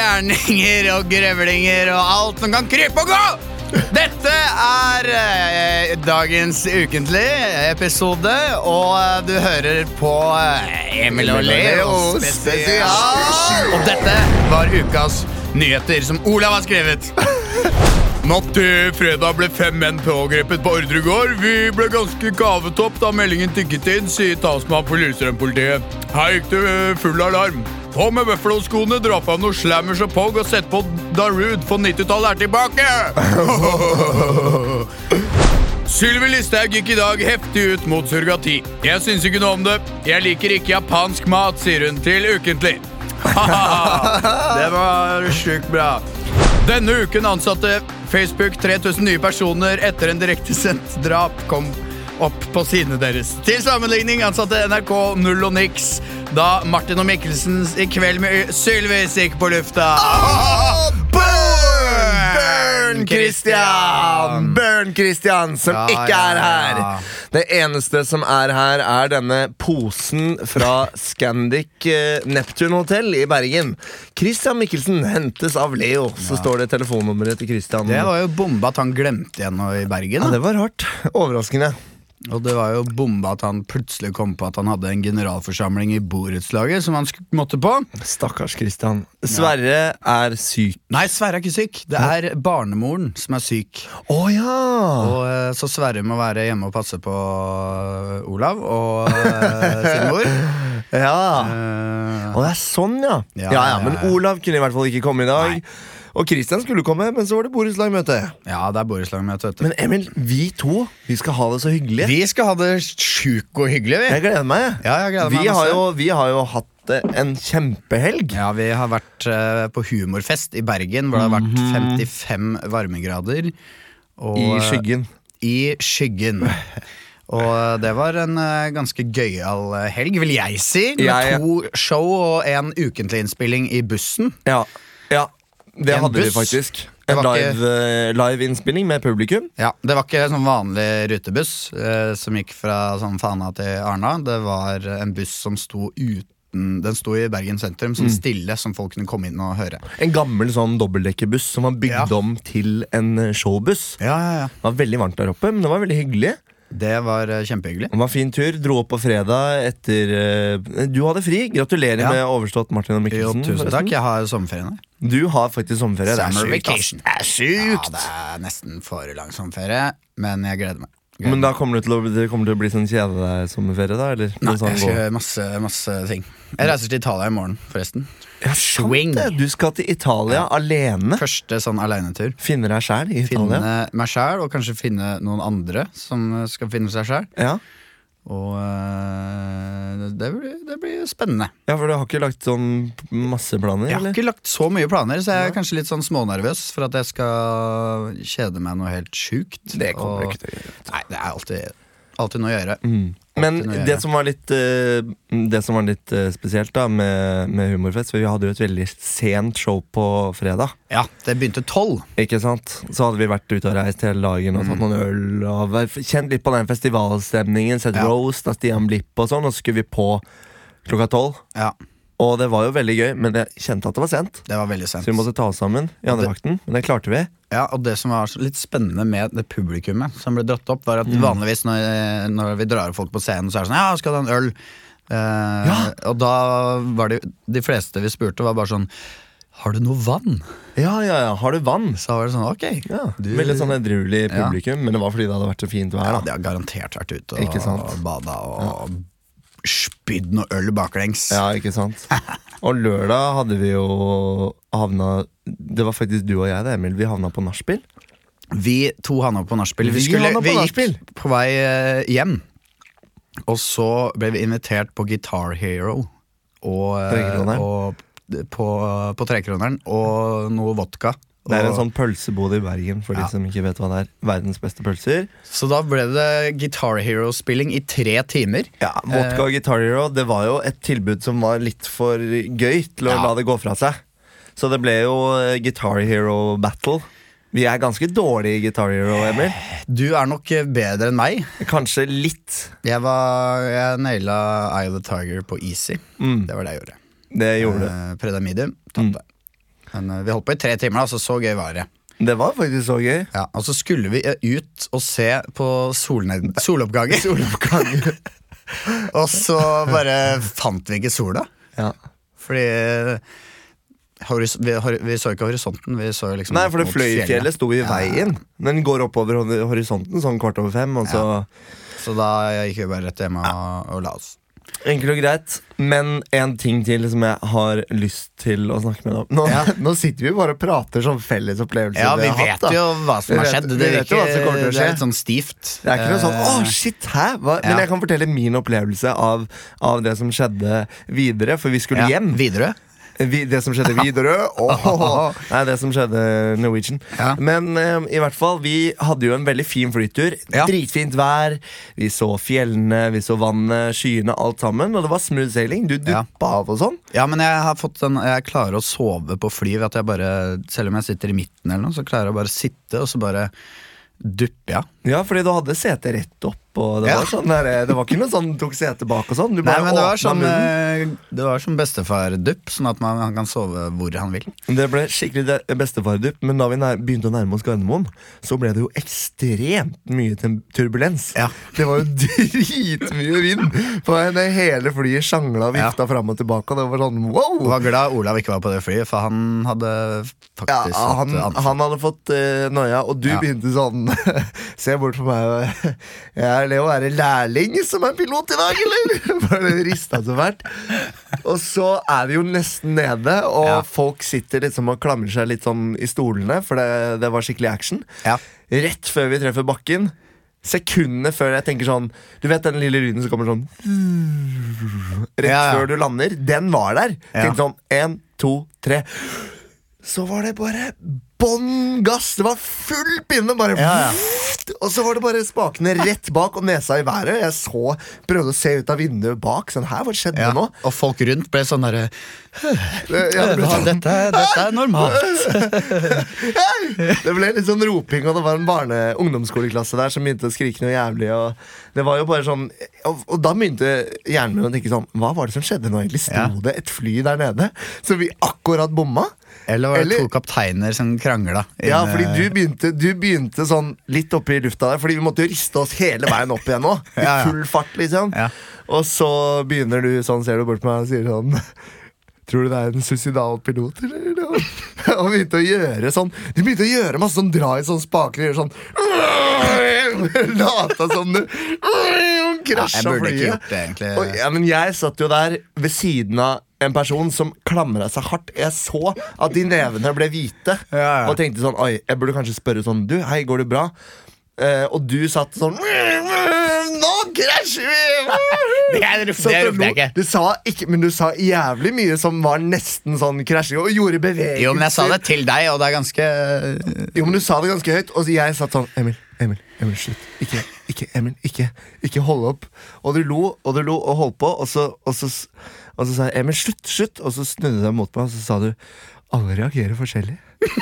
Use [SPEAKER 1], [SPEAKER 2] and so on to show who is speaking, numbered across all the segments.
[SPEAKER 1] kyllinger og grevlinger og alt som kan krype og gå! Dette er eh, dagens ukentlig episode, og eh, du hører på eh, Emil og Leo spesial. Og dette var ukas nyheter som Olav har skrevet. Natt til fredag ble fem menn pågrepet på Ordregård. Vi ble ganske kavet opp da meldingen tikket inn, sier talsmann for Lillestrøm-politiet. Her gikk det ø, full alarm. På med Buffalo-skoene, dra fram noen slammers og pog og sett på Darude, for 90-tallet er tilbake! Sylvi Listhaug gikk i dag heftig ut mot surrogati. Jeg syns ikke noe om det. Jeg liker ikke japansk mat, sier hun til Ukentlig. det var sjukt bra. Denne uken ansatte Facebook 3000 nye personer etter en direktesendt drap kom opp på sidene deres. Til sammenligning ansatte NRK null og niks da Martin og Mikkelsen i kveld med Sylvis gikk på lufta.
[SPEAKER 2] Burn Christian! Burn Christian, som
[SPEAKER 1] Ja,
[SPEAKER 2] ikke
[SPEAKER 1] ja,
[SPEAKER 2] er her.
[SPEAKER 1] ja.
[SPEAKER 2] Det eneste som er her, er denne posen fra Scandic eh, Neptune Hotel i Bergen. Christian Mikkelsen hentes av Leo, så står det telefonnummeret til Christian.
[SPEAKER 1] Det var jo bomba at han glemte igjen nå i Bergen.
[SPEAKER 2] ja,
[SPEAKER 1] Da.
[SPEAKER 2] det var rart. Overraskende.
[SPEAKER 1] Og det var jo bomba at han plutselig kom på at han hadde en generalforsamling i borettslaget som han sk- måtte på.
[SPEAKER 2] Stakkars Christian. Sverre er syk.
[SPEAKER 1] Nei, Sverre er ikke syk. Det er barnemoren som er syk.
[SPEAKER 2] Å ja!
[SPEAKER 1] Og eh, Så Sverre må være hjemme og passe på eh, Olav og eh, sin mor.
[SPEAKER 2] ja. Å,
[SPEAKER 1] Eh,
[SPEAKER 2] det er sånn, ja. Ja,
[SPEAKER 1] Ja,
[SPEAKER 2] ja,
[SPEAKER 1] ja,
[SPEAKER 2] Men
[SPEAKER 1] ja.
[SPEAKER 2] Olav kunne i hvert fall ikke komme i dag. Og Christian skulle komme, men så var det borettslagmøte.
[SPEAKER 1] ja, det er borettslagmøte, vet du.
[SPEAKER 2] Men Emil, vi to vi skal ha det så hyggelig.
[SPEAKER 1] Vi skal ha det sjukt og hyggelig, vi.
[SPEAKER 2] Jeg gleder meg. jeg.
[SPEAKER 1] Ja, jeg gleder meg
[SPEAKER 2] vi,
[SPEAKER 1] masse.
[SPEAKER 2] har jo, vi har jo hatt eh, en kjempehelg.
[SPEAKER 1] Ja, vi har vært eh, på humorfest i Bergen, hvor det har vært 55 varmegrader. og-
[SPEAKER 2] Mhm. I skyggen.
[SPEAKER 1] I skyggen. Og det var en eh, ganske gøyal eh, helg, vil jeg si. Med
[SPEAKER 2] Jeg-
[SPEAKER 1] to show og en ukentlig innspilling i bussen.
[SPEAKER 2] Ja, ja Det
[SPEAKER 1] En
[SPEAKER 2] hadde vi
[SPEAKER 1] buss.
[SPEAKER 2] faktisk.
[SPEAKER 1] Det
[SPEAKER 2] En
[SPEAKER 1] var ikke-
[SPEAKER 2] live, eh, live innspilling med publikum.
[SPEAKER 1] Ja, Det var ikke sånn vanlig rutebuss eh, som gikk fra sånn Fana til Arna. Det var en buss som sto uten Den sto i Bergen sentrum, sånn stille, som folk kunne komme inn og høre.
[SPEAKER 2] En gammel sånn dobbeltdekkerbuss som var bygd
[SPEAKER 1] Ja.
[SPEAKER 2] om til en eh, showbuss.
[SPEAKER 1] Ja, ja, ja.
[SPEAKER 2] Det var veldig varmt der oppe, men det var veldig hyggelig.
[SPEAKER 1] Det var eh, kjempehyggelig.
[SPEAKER 2] Det var en fin tur. Dro opp på fredag etter eh, Du hadde fri. Gratulerer
[SPEAKER 1] Ja.
[SPEAKER 2] med overstått, Martin og
[SPEAKER 1] Jo,
[SPEAKER 2] Mikkelsen.
[SPEAKER 1] tusen
[SPEAKER 2] forresten.
[SPEAKER 1] takk. Jeg har sommerferien her.
[SPEAKER 2] Du har faktisk sommerferie. Det er
[SPEAKER 1] Summer
[SPEAKER 2] sjukt, ass.
[SPEAKER 1] vacation.
[SPEAKER 2] Det er
[SPEAKER 1] Ja,
[SPEAKER 2] sjukt!
[SPEAKER 1] det er nesten for lang sommerferie, men jeg gleder meg. Gleder
[SPEAKER 2] Men da kommer det til å, det kommer til å bli sånn kjedesommerferie, da? Eller?
[SPEAKER 1] Nei,
[SPEAKER 2] sånn
[SPEAKER 1] jeg skal gjøre masse, masse ting. Jeg reiser til Italia i morgen, forresten.
[SPEAKER 2] Ja, sant
[SPEAKER 1] Swing.
[SPEAKER 2] det. Du skal til Italia alene.
[SPEAKER 1] Første sånn alenetur.
[SPEAKER 2] Finne deg sjæl i
[SPEAKER 1] Finne
[SPEAKER 2] Italia.
[SPEAKER 1] meg sjæl, og kanskje finne noen andre som eh, skal finne seg sjæl.
[SPEAKER 2] Ja.
[SPEAKER 1] Og eh, det, blir, det blir spennende.
[SPEAKER 2] ja, for du har ikke lagt sånn masse planer?
[SPEAKER 1] Jeg har
[SPEAKER 2] eller?
[SPEAKER 1] ikke lagt så mye planer, så jeg er kanskje litt sånn smånervøs for at jeg skal kjede meg noe helt sjukt.
[SPEAKER 2] Det kommer
[SPEAKER 1] og-
[SPEAKER 2] du ikke til å gjøre.
[SPEAKER 1] Nei, det er alltid, alltid noe å gjøre.
[SPEAKER 2] Mm. Men
[SPEAKER 1] Alltid noe å
[SPEAKER 2] det
[SPEAKER 1] gjøre.
[SPEAKER 2] som var litt, eh, det som var litt eh, spesielt da med, med Humorfest, for vi hadde jo et veldig sent show på fredag.
[SPEAKER 1] Ja, det begynte tolv.
[SPEAKER 2] Ikke sant? Så hadde vi vært ute og reist hele dagen og tatt noen øl. Og vært- kjent litt på den festivalstemningen. Sett
[SPEAKER 1] Ja.
[SPEAKER 2] Roast av Stian Blipp og sånn. Og så skulle vi på klokka tolv.
[SPEAKER 1] Ja,
[SPEAKER 2] Og det var jo veldig gøy, men jeg kjente at det var sent.
[SPEAKER 1] det var veldig sent.
[SPEAKER 2] Så vi måtte ta oss sammen i andrevakten. Men det klarte vi.
[SPEAKER 1] Ja, og det som var så litt spennende med det publikummet som ble dratt opp, var at
[SPEAKER 2] Mm.
[SPEAKER 1] vanligvis når, når vi drar opp folk på scenen, så er det sånn Ja, skal du ha en øl? Eh, Og da var det De fleste vi spurte, var bare sånn Har du noe vann?
[SPEAKER 2] Ja, ja, ja. Har du vann?
[SPEAKER 1] Så var det sånn, ok.
[SPEAKER 2] Ja,
[SPEAKER 1] du-
[SPEAKER 2] Veldig sånn edruelig
[SPEAKER 1] Ja.
[SPEAKER 2] publikum, men det var fordi det hadde vært så fint vær. da
[SPEAKER 1] ja, de har garantert vært ute
[SPEAKER 2] Ikke
[SPEAKER 1] og,
[SPEAKER 2] sant?
[SPEAKER 1] og bada og spydd noe øl baklengs.
[SPEAKER 2] Ja, ikke sant? Og lørdag hadde vi jo havna Det var faktisk du og jeg, det, Emil. Vi havna på nachspiel.
[SPEAKER 1] Vi to havna på nachspiel.
[SPEAKER 2] Vi havna på
[SPEAKER 1] vi
[SPEAKER 2] nachspiel.
[SPEAKER 1] gikk på vei eh, hjem, og så ble vi invitert på Guitar Hero og, eh,
[SPEAKER 2] Trekroneren.
[SPEAKER 1] og på, på Trekroneren og noe vodka.
[SPEAKER 2] Det er en
[SPEAKER 1] Og-
[SPEAKER 2] sånn pølsebod i Bergen, for
[SPEAKER 1] Ja.
[SPEAKER 2] de som ikke vet hva det er. Verdens beste pølser.
[SPEAKER 1] Så da ble det Guitar Hero-spilling i tre timer.
[SPEAKER 2] Ja, Vodka og Guitar Hero det var jo et tilbud som var litt for gøy til å
[SPEAKER 1] Ja.
[SPEAKER 2] la det gå fra seg. Så det ble jo eh, Guitar Hero Battle. Vi er ganske dårlige i Guitar Hero, Emil.
[SPEAKER 1] Du er nok eh, bedre enn meg.
[SPEAKER 2] Kanskje litt.
[SPEAKER 1] Jeg, var, jeg naila
[SPEAKER 2] Mm.
[SPEAKER 1] Eye of the Tiger på Easy. Det var det jeg gjorde.
[SPEAKER 2] Det gjorde du.
[SPEAKER 1] Eh, Prøvde medium, tapte. Men eh, vi holdt på i tre timer, da, så så gøy var det.
[SPEAKER 2] Det var faktisk så gøy.
[SPEAKER 1] Ja, og så skulle vi eh, ut og se på solned soloppganger. og så bare fant vi ikke sola.
[SPEAKER 2] Ja.
[SPEAKER 1] Fordi eh, horis vi, hor- vi så ikke horisonten. Vi så liksom
[SPEAKER 2] Nei, for det
[SPEAKER 1] mot
[SPEAKER 2] fløyfjellet sto i veien. Den går oppover hor- horisonten sånn kvart over fem, og så
[SPEAKER 1] Så da gikk vi bare rett hjemme og, og la oss.
[SPEAKER 2] Enkelt og greit. Men en ting til som jeg har lyst til å snakke med deg om. Nå,
[SPEAKER 1] Ja.
[SPEAKER 2] nå sitter vi bare og prater som felles opplevelse.
[SPEAKER 1] Ja, vi
[SPEAKER 2] har hatt,
[SPEAKER 1] vet
[SPEAKER 2] da.
[SPEAKER 1] jo hva som
[SPEAKER 2] Vi
[SPEAKER 1] har
[SPEAKER 2] vet-
[SPEAKER 1] skjedd.
[SPEAKER 2] vi
[SPEAKER 1] Det er,
[SPEAKER 2] vet jo
[SPEAKER 1] ikke,
[SPEAKER 2] hva som kommer til å
[SPEAKER 1] det er
[SPEAKER 2] skje.
[SPEAKER 1] litt sånn stivt.
[SPEAKER 2] Det er ikke noe sånn
[SPEAKER 1] Eh,
[SPEAKER 2] 'Å, shit, hæ?' Hva? Men
[SPEAKER 1] ja.
[SPEAKER 2] jeg kan fortelle min opplevelse av, av det som skjedde videre, for vi skulle
[SPEAKER 1] ja.
[SPEAKER 2] hjem.
[SPEAKER 1] Widerøe.
[SPEAKER 2] Vi, det som skjedde Widerøe åh. Nei, det som skjedde Norwegian.
[SPEAKER 1] Ja.
[SPEAKER 2] Men eh, i hvert fall, vi hadde jo en veldig fin flytur.
[SPEAKER 1] Ja.
[SPEAKER 2] Dritfint vær. Vi så fjellene, vi så vannet, skyene, alt sammen. Og det var smooth sailing. Du
[SPEAKER 1] Ja.
[SPEAKER 2] duppa av og sånn.
[SPEAKER 1] Ja, men jeg har fått den Jeg klarer å sove på fly ved at jeg bare Selv om jeg sitter i midten eller noe, så klarer jeg bare å sitte, og så bare dupper jeg.
[SPEAKER 2] Ja, fordi du hadde setet rett opp. Og det,
[SPEAKER 1] Ja.
[SPEAKER 2] var sånn der, eh, det var ikke noe sånn tok setet bak og sånn. Du
[SPEAKER 1] Nei,
[SPEAKER 2] bare
[SPEAKER 1] men det var
[SPEAKER 2] åpna
[SPEAKER 1] sånn
[SPEAKER 2] munnen.
[SPEAKER 1] eh, Det var som bestefar-dupp, sånn at man, han kan sove hvor han vil.
[SPEAKER 2] Det ble skikkelig de- bestefardupp, men da vi nær, begynte å nærme oss Gardermoen, så ble det jo ekstremt mye tem- turbulens.
[SPEAKER 1] Ja.
[SPEAKER 2] Det var jo dritmye vind! For det hele flyet sjangla og vifta fram og tilbake, og det var sånn
[SPEAKER 1] Og
[SPEAKER 2] wow!
[SPEAKER 1] var glad Olav ikke var på det flyet, for han hadde
[SPEAKER 2] Ja,
[SPEAKER 1] faktisk hatt
[SPEAKER 2] han,
[SPEAKER 1] det anfall.
[SPEAKER 2] han hadde fått uh, noia, og du
[SPEAKER 1] Ja.
[SPEAKER 2] begynte sånn Se bort på meg og Jeg er Leo, er det lærling som er pilot i dag, eller? Bare rista så fælt. Og så er vi jo nesten nede, og
[SPEAKER 1] Ja.
[SPEAKER 2] folk sitter liksom og klamrer seg litt sånn i stolene, for det, det var skikkelig action.
[SPEAKER 1] Ja.
[SPEAKER 2] Rett før vi treffer bakken, sekundene før jeg tenker sånn Du vet den lille lyden som kommer sånn Rett
[SPEAKER 1] Ja, ja.
[SPEAKER 2] før du lander. Den var der.
[SPEAKER 1] Ja.
[SPEAKER 2] Tenkte sånn én, to, tre så var det bare bånn gass! Det var full pinne! bare
[SPEAKER 1] Ja, ja.
[SPEAKER 2] Og så var det bare spakene rett bak og nesa i været. Jeg så, prøvde å se ut av vinduet bak. Sånn, her, hva skjedde
[SPEAKER 1] Ja.
[SPEAKER 2] nå?
[SPEAKER 1] Og folk rundt ble sånn derre
[SPEAKER 2] Det- ja, det ble
[SPEAKER 1] «Ja,
[SPEAKER 2] sånn-
[SPEAKER 1] dette, dette er normalt.
[SPEAKER 2] Det ble litt sånn roping, og det var en barne ungdomsskoleklasse der som begynte å skrike noe jævlig. Og det var jo bare sånn Og, og da begynte hjernen min å tenke sånn Hva var det som skjedde nå, egentlig? Sto
[SPEAKER 1] Ja.
[SPEAKER 2] det et fly der nede som vi akkurat bomma?
[SPEAKER 1] Eller var det
[SPEAKER 2] Eller-
[SPEAKER 1] to kapteiner som krangla?
[SPEAKER 2] Ja, fordi
[SPEAKER 1] eh,
[SPEAKER 2] du begynte, du begynte sånn litt oppe i lufta der, fordi vi måtte jo riste oss hele veien opp igjen nå. I
[SPEAKER 1] Ja, ja.
[SPEAKER 2] full fart, liksom.
[SPEAKER 1] Ja.
[SPEAKER 2] Og så begynner du sånn, ser du bort på meg og sier sånn Tror du det er en suicidal pilot, eller? Og begynte å gjøre sånn Du begynte å gjøre masse sånn dra i sånn spaker og gjøre sånn Lata som du krasja
[SPEAKER 1] jeg burde ikke
[SPEAKER 2] flyet.
[SPEAKER 1] gjort det, egentlig.
[SPEAKER 2] Og, ja, men jeg satt jo der ved siden av en person som klamra seg hardt. Jeg så at de nevene ble hvite.
[SPEAKER 1] Ja, ja.
[SPEAKER 2] Og tenkte sånn Oi, jeg burde kanskje spørre sånn Du, hei, går det bra? Eh, og du satt sånn Nå krasjer vi!
[SPEAKER 1] Det er- det
[SPEAKER 2] Satt og
[SPEAKER 1] ropte
[SPEAKER 2] lo.
[SPEAKER 1] jeg ikke.
[SPEAKER 2] Du sa ikke, men du sa jævlig mye som var nesten sånn krasjing, og gjorde bevegelser.
[SPEAKER 1] Jo, men jeg sa det til deg, og det er ganske
[SPEAKER 2] Jo, men du sa det ganske høyt, og så jeg satt sånn Emil, Emil, Emil, slutt. Ikke, ikke, Emil, ikke. Ikke holde opp. Og du lo og du lo og holdt på, og så, og så, s- og så sa jeg Emil, slutt, slutt. Og så snudde du deg mot meg, og så sa du alle reagerer forskjellig.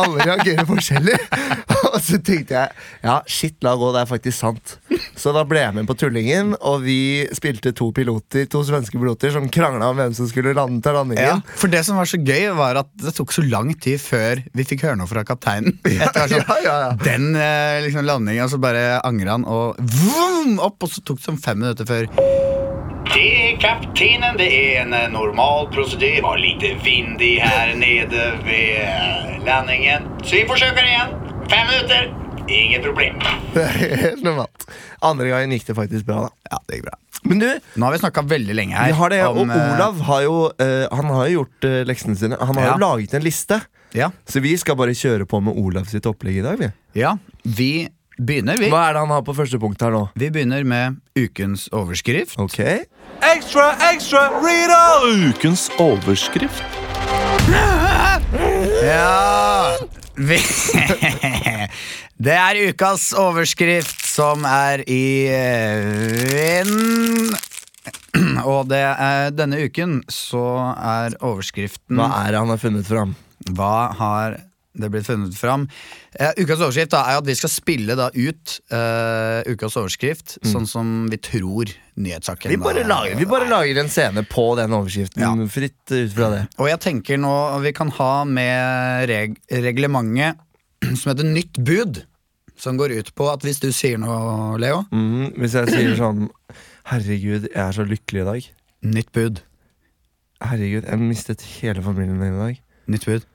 [SPEAKER 2] Alle reagerer forskjellig. Og så tenkte jeg ja, shit, la gå, det er faktisk sant. Så da ble jeg med på Tullingen, og vi spilte to piloter, to svenske piloter som krangla om hvem som skulle lande til landingen.
[SPEAKER 1] Ja, for det som var så gøy, var at det tok så lang tid før vi fikk høre noe fra kapteinen. Etter hvert sånn,
[SPEAKER 2] ja, ja, ja.
[SPEAKER 1] Den eh, liksom landinga, så bare angra han og vroom, opp, og så tok det sånn fem minutter før.
[SPEAKER 3] Det er kaptenen. Det er en eh, normal prosedyr. Det var lite vindig her nede ved eh, landingen. Så vi forsøker igjen. Fem minutter. Inget problem.
[SPEAKER 2] Det er Helt normalt. Andre gangen gikk det faktisk bra, da.
[SPEAKER 1] Ja, det gikk bra.
[SPEAKER 2] Men du,
[SPEAKER 1] Nå har vi snakka veldig lenge her.
[SPEAKER 2] Vi har det, og
[SPEAKER 1] om, eh,
[SPEAKER 2] Olav har jo, eh, han har jo gjort eh, leksene sine. Han har
[SPEAKER 1] Ja.
[SPEAKER 2] jo laget en liste.
[SPEAKER 1] Ja,
[SPEAKER 2] Så vi skal bare kjøre på med Olav sitt opplegg i dag. Vi.
[SPEAKER 1] ja, vi begynner, vi.
[SPEAKER 2] Hva er det han har på første punkt her nå?
[SPEAKER 1] Vi begynner med ukens overskrift.
[SPEAKER 2] Ok
[SPEAKER 4] Ekstra, ekstra, Rita! Ukens overskrift.
[SPEAKER 1] Ja vi, Det er ukas overskrift som er i eh, vind. Og det er, denne uken så er overskriften
[SPEAKER 2] Mm. Hva er det han har funnet fram?
[SPEAKER 1] Hva har Det ble funnet fram. Eh, ukas overskrift da, er at vi skal spille da ut eh, ukas overskrift sånn som vi tror nyhetssaken
[SPEAKER 2] Mm. Vi bare,
[SPEAKER 1] da-
[SPEAKER 2] lager, vi bare lager en scene på den overskriften,
[SPEAKER 1] Ja.
[SPEAKER 2] fritt eh, ut fra det.
[SPEAKER 1] Og jeg tenker nå vi kan ha med reg reglementet som heter Nytt bud. Som går ut på at hvis du sier noe, Leo
[SPEAKER 2] Mm, hvis jeg sier sånn Herregud, jeg er så lykkelig i dag.
[SPEAKER 1] Nytt bud.
[SPEAKER 2] Herregud, jeg mistet hele familien min i dag.
[SPEAKER 1] Nytt bud.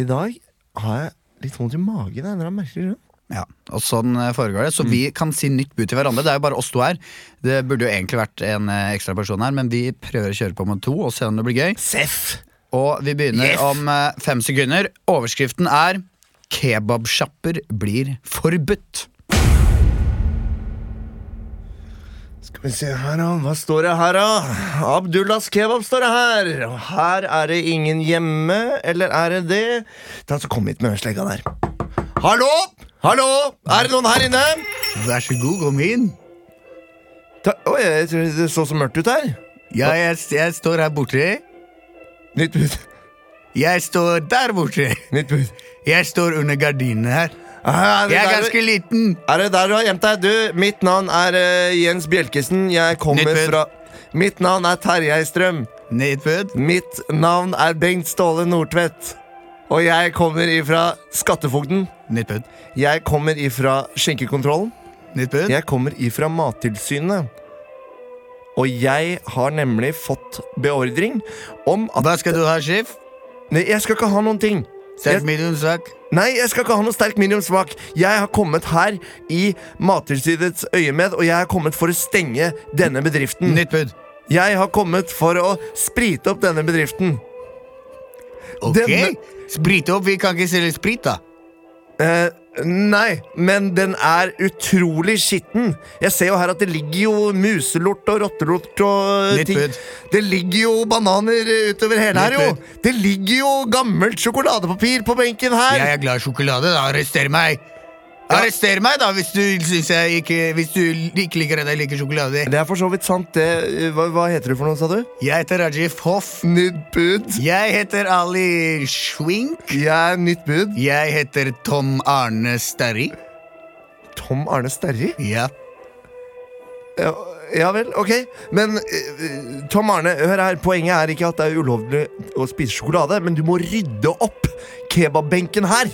[SPEAKER 2] I dag har jeg litt vondt i magen. av en eller annen merkelig grunn.
[SPEAKER 1] Ja, og sånn eh, foregår det. Så vi kan si nytt bud til hverandre. Det er jo bare oss to her. Det burde jo egentlig vært en eh, ekstra person her, men vi prøver å kjøre på med to og se om det blir gøy.
[SPEAKER 2] Seff!
[SPEAKER 1] Og vi begynner
[SPEAKER 2] Yes!
[SPEAKER 1] om eh, fem sekunder. Overskriften er 'Kebabsjapper blir forbudt'.
[SPEAKER 2] Skal vi se her, da. Hva står det her, da? Abdullahs kebab står det her. Og her er det ingen hjemme, eller er det det? Da så Kom hit med den slegga der. Hallo! Hallo! Er det noen her inne?
[SPEAKER 1] Vær så god, kom inn.
[SPEAKER 2] Ta Oi, jeg tror det så så mørkt ut her.
[SPEAKER 1] Ja, jeg, jeg står her borte.
[SPEAKER 2] Nytt bud.
[SPEAKER 1] Jeg står der borte.
[SPEAKER 2] Nytt bud. Ah,
[SPEAKER 1] Jeg står under gardinene her.
[SPEAKER 2] Er det,
[SPEAKER 1] Jeg er
[SPEAKER 2] der,
[SPEAKER 1] ganske liten.
[SPEAKER 2] du- er det der du har gjemt deg? Du, mitt navn er eh, Jens Bjelkesen. Jeg
[SPEAKER 1] Nytt
[SPEAKER 2] kommer
[SPEAKER 1] bud.
[SPEAKER 2] fra Mitt navn er Terjei Strøm.
[SPEAKER 1] Nytt bud.
[SPEAKER 2] Mitt navn er Bengt Ståle Nordtvedt. Og jeg kommer ifra Skattefogden.
[SPEAKER 1] Nytt bud.
[SPEAKER 2] Jeg kommer ifra skjenkekontrollen.
[SPEAKER 1] Nytt bud.
[SPEAKER 2] Jeg kommer ifra Mattilsynet. Og jeg har nemlig fått beordring om at
[SPEAKER 1] Hva skal du ha, sjef?
[SPEAKER 2] Nei, jeg skal ikke ha noen ting.
[SPEAKER 1] Sterk
[SPEAKER 2] Jeg-
[SPEAKER 1] mediumsak.
[SPEAKER 2] Nei, jeg skal ikke ha noe sterk mediumsmak. Jeg har kommet her i Mattilsynets øyemed, og jeg har kommet for å stenge denne bedriften.
[SPEAKER 1] Nytt bud.
[SPEAKER 2] Jeg har kommet for å sprite opp denne bedriften.
[SPEAKER 1] Ok.
[SPEAKER 2] Denne-
[SPEAKER 1] Sprite opp. Vi kan ikke selge sprit, da.
[SPEAKER 2] Eh, nei, men den er utrolig skitten. Jeg ser jo her at det ligger jo muselort og rottelort og
[SPEAKER 1] Nytt bud.
[SPEAKER 2] Det ligger jo bananer utover hele her,
[SPEAKER 1] Nytt
[SPEAKER 2] jo.
[SPEAKER 1] bud.
[SPEAKER 2] Det ligger jo gammelt sjokoladepapir på benken her.
[SPEAKER 1] Jeg er glad i sjokolade. da Arrester meg. Arrester meg, da, hvis du synes jeg ikke Hvis du ikke liker at jeg liker sjokolade.
[SPEAKER 2] Det er for så vidt sant, det. Hva, hva heter du for noe, sa du?
[SPEAKER 1] Jeg heter Rajif Hoff.
[SPEAKER 2] Nytt bud.
[SPEAKER 1] Jeg heter Ali Schwink.
[SPEAKER 2] Jeg er nytt bud.
[SPEAKER 1] Jeg heter Tom Arne Sterri.
[SPEAKER 2] Tom Arne Sterri.
[SPEAKER 1] Ja.
[SPEAKER 2] Ja, ja vel, ok. Men eh, Tom Arne, hør her. Poenget er ikke at det er ulovlig å spise sjokolade, men du må rydde opp kebabbenken her.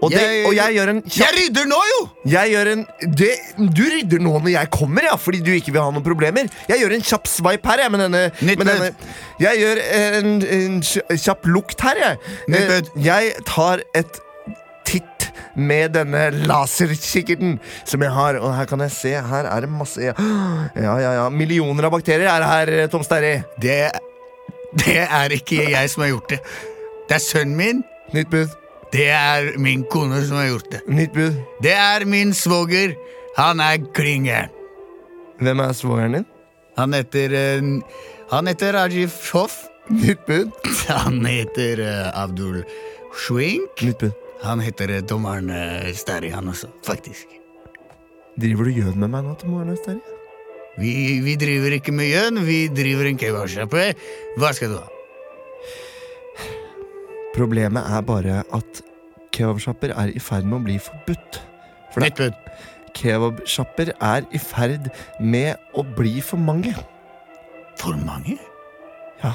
[SPEAKER 2] Og, det,
[SPEAKER 1] Jeg-
[SPEAKER 2] og jeg gjør en
[SPEAKER 1] Jeg rydder nå, jo!
[SPEAKER 2] Jeg gjør en det, Du rydder nå når jeg kommer, ja, fordi du ikke vil ha noen problemer. Jeg gjør en kjapp sveip her, jeg, med denne,
[SPEAKER 1] Nytt
[SPEAKER 2] med denne. Jeg gjør en, en kj- kjapp lukt her, jeg.
[SPEAKER 1] Nytt
[SPEAKER 2] Eh,
[SPEAKER 1] bud.
[SPEAKER 2] Jeg tar et titt med denne laserkikkerten som jeg har. Og her kan jeg se, her er det masse Ja, ja, ja. ja. Millioner av bakterier er her, eh, Tom Sterri.
[SPEAKER 1] Det, det er ikke jeg som har gjort det. Det er sønnen min.
[SPEAKER 2] Nytt bud.
[SPEAKER 1] Det er min kone som har gjort det.
[SPEAKER 2] Nytt bud.
[SPEAKER 1] Det er min svoger. Han er klingeren.
[SPEAKER 2] Hvem er svogeren din?
[SPEAKER 1] Han heter eh, Han heter Rajif Hoff.
[SPEAKER 2] Nytt bud.
[SPEAKER 1] Han heter eh, Abdul Schwink.
[SPEAKER 2] Nytt bud.
[SPEAKER 1] Han heter eh, Tom Arne Sterri, han også, faktisk.
[SPEAKER 2] Driver du gjøn med meg nå til morgenen, Sterri?
[SPEAKER 1] Vi, vi driver ikke med gjøn, vi driver en kebabsjappe. Hva skal du ha?
[SPEAKER 2] Problemet er bare at kebabsjapper er i ferd med å bli forbudt. For det-
[SPEAKER 1] Nytt bud.
[SPEAKER 2] kebabsjapper er i ferd med å bli for mange.
[SPEAKER 1] For mange?
[SPEAKER 2] Ja,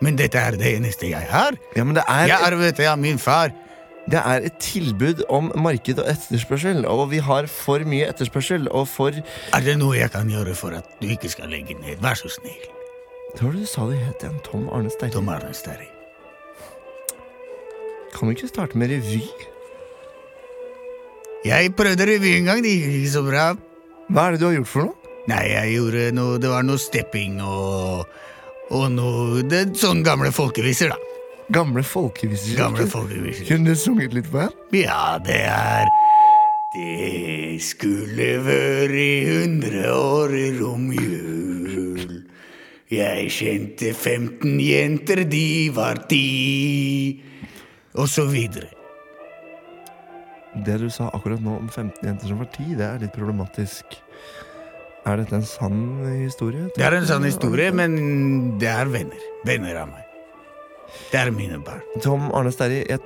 [SPEAKER 1] Men dette er det eneste jeg har.
[SPEAKER 2] ja men det er,
[SPEAKER 1] Jeg arvet det av min far.
[SPEAKER 2] det er et tilbud om marked og etterspørsel, og vi har for mye etterspørsel, og for Det
[SPEAKER 1] Er det noe jeg kan gjøre for at du ikke skal legge ned? Vær så snill.
[SPEAKER 2] var det du sa det het igjen. Tom Arne Sterri.
[SPEAKER 1] Tom Arne Sterri.
[SPEAKER 2] Kan du ikke starte med revy?
[SPEAKER 1] Jeg prøvde revy en gang, det gikk ikke så bra.
[SPEAKER 2] Hva er det du har gjort for noe?
[SPEAKER 1] Nei, jeg gjorde noe Det var noe stepping og Og noe det, er Sånn gamle folkeviser, da.
[SPEAKER 2] Gamle folkeviser.
[SPEAKER 1] Gamle folkeviser.
[SPEAKER 2] Kunne du sunget litt på her?
[SPEAKER 1] Ja, det er Det skulle være hundre år i romjul. Jeg kjente 15 jenter, de var ti, og så videre.
[SPEAKER 2] Det du sa akkurat nå om 15 jenter som var 10, det er litt problematisk. Er dette en sann historie?
[SPEAKER 1] Det er en sann historie, men det er venner. Venner av meg. Det er mine barn.
[SPEAKER 2] Tom Arne Sterri, jeg,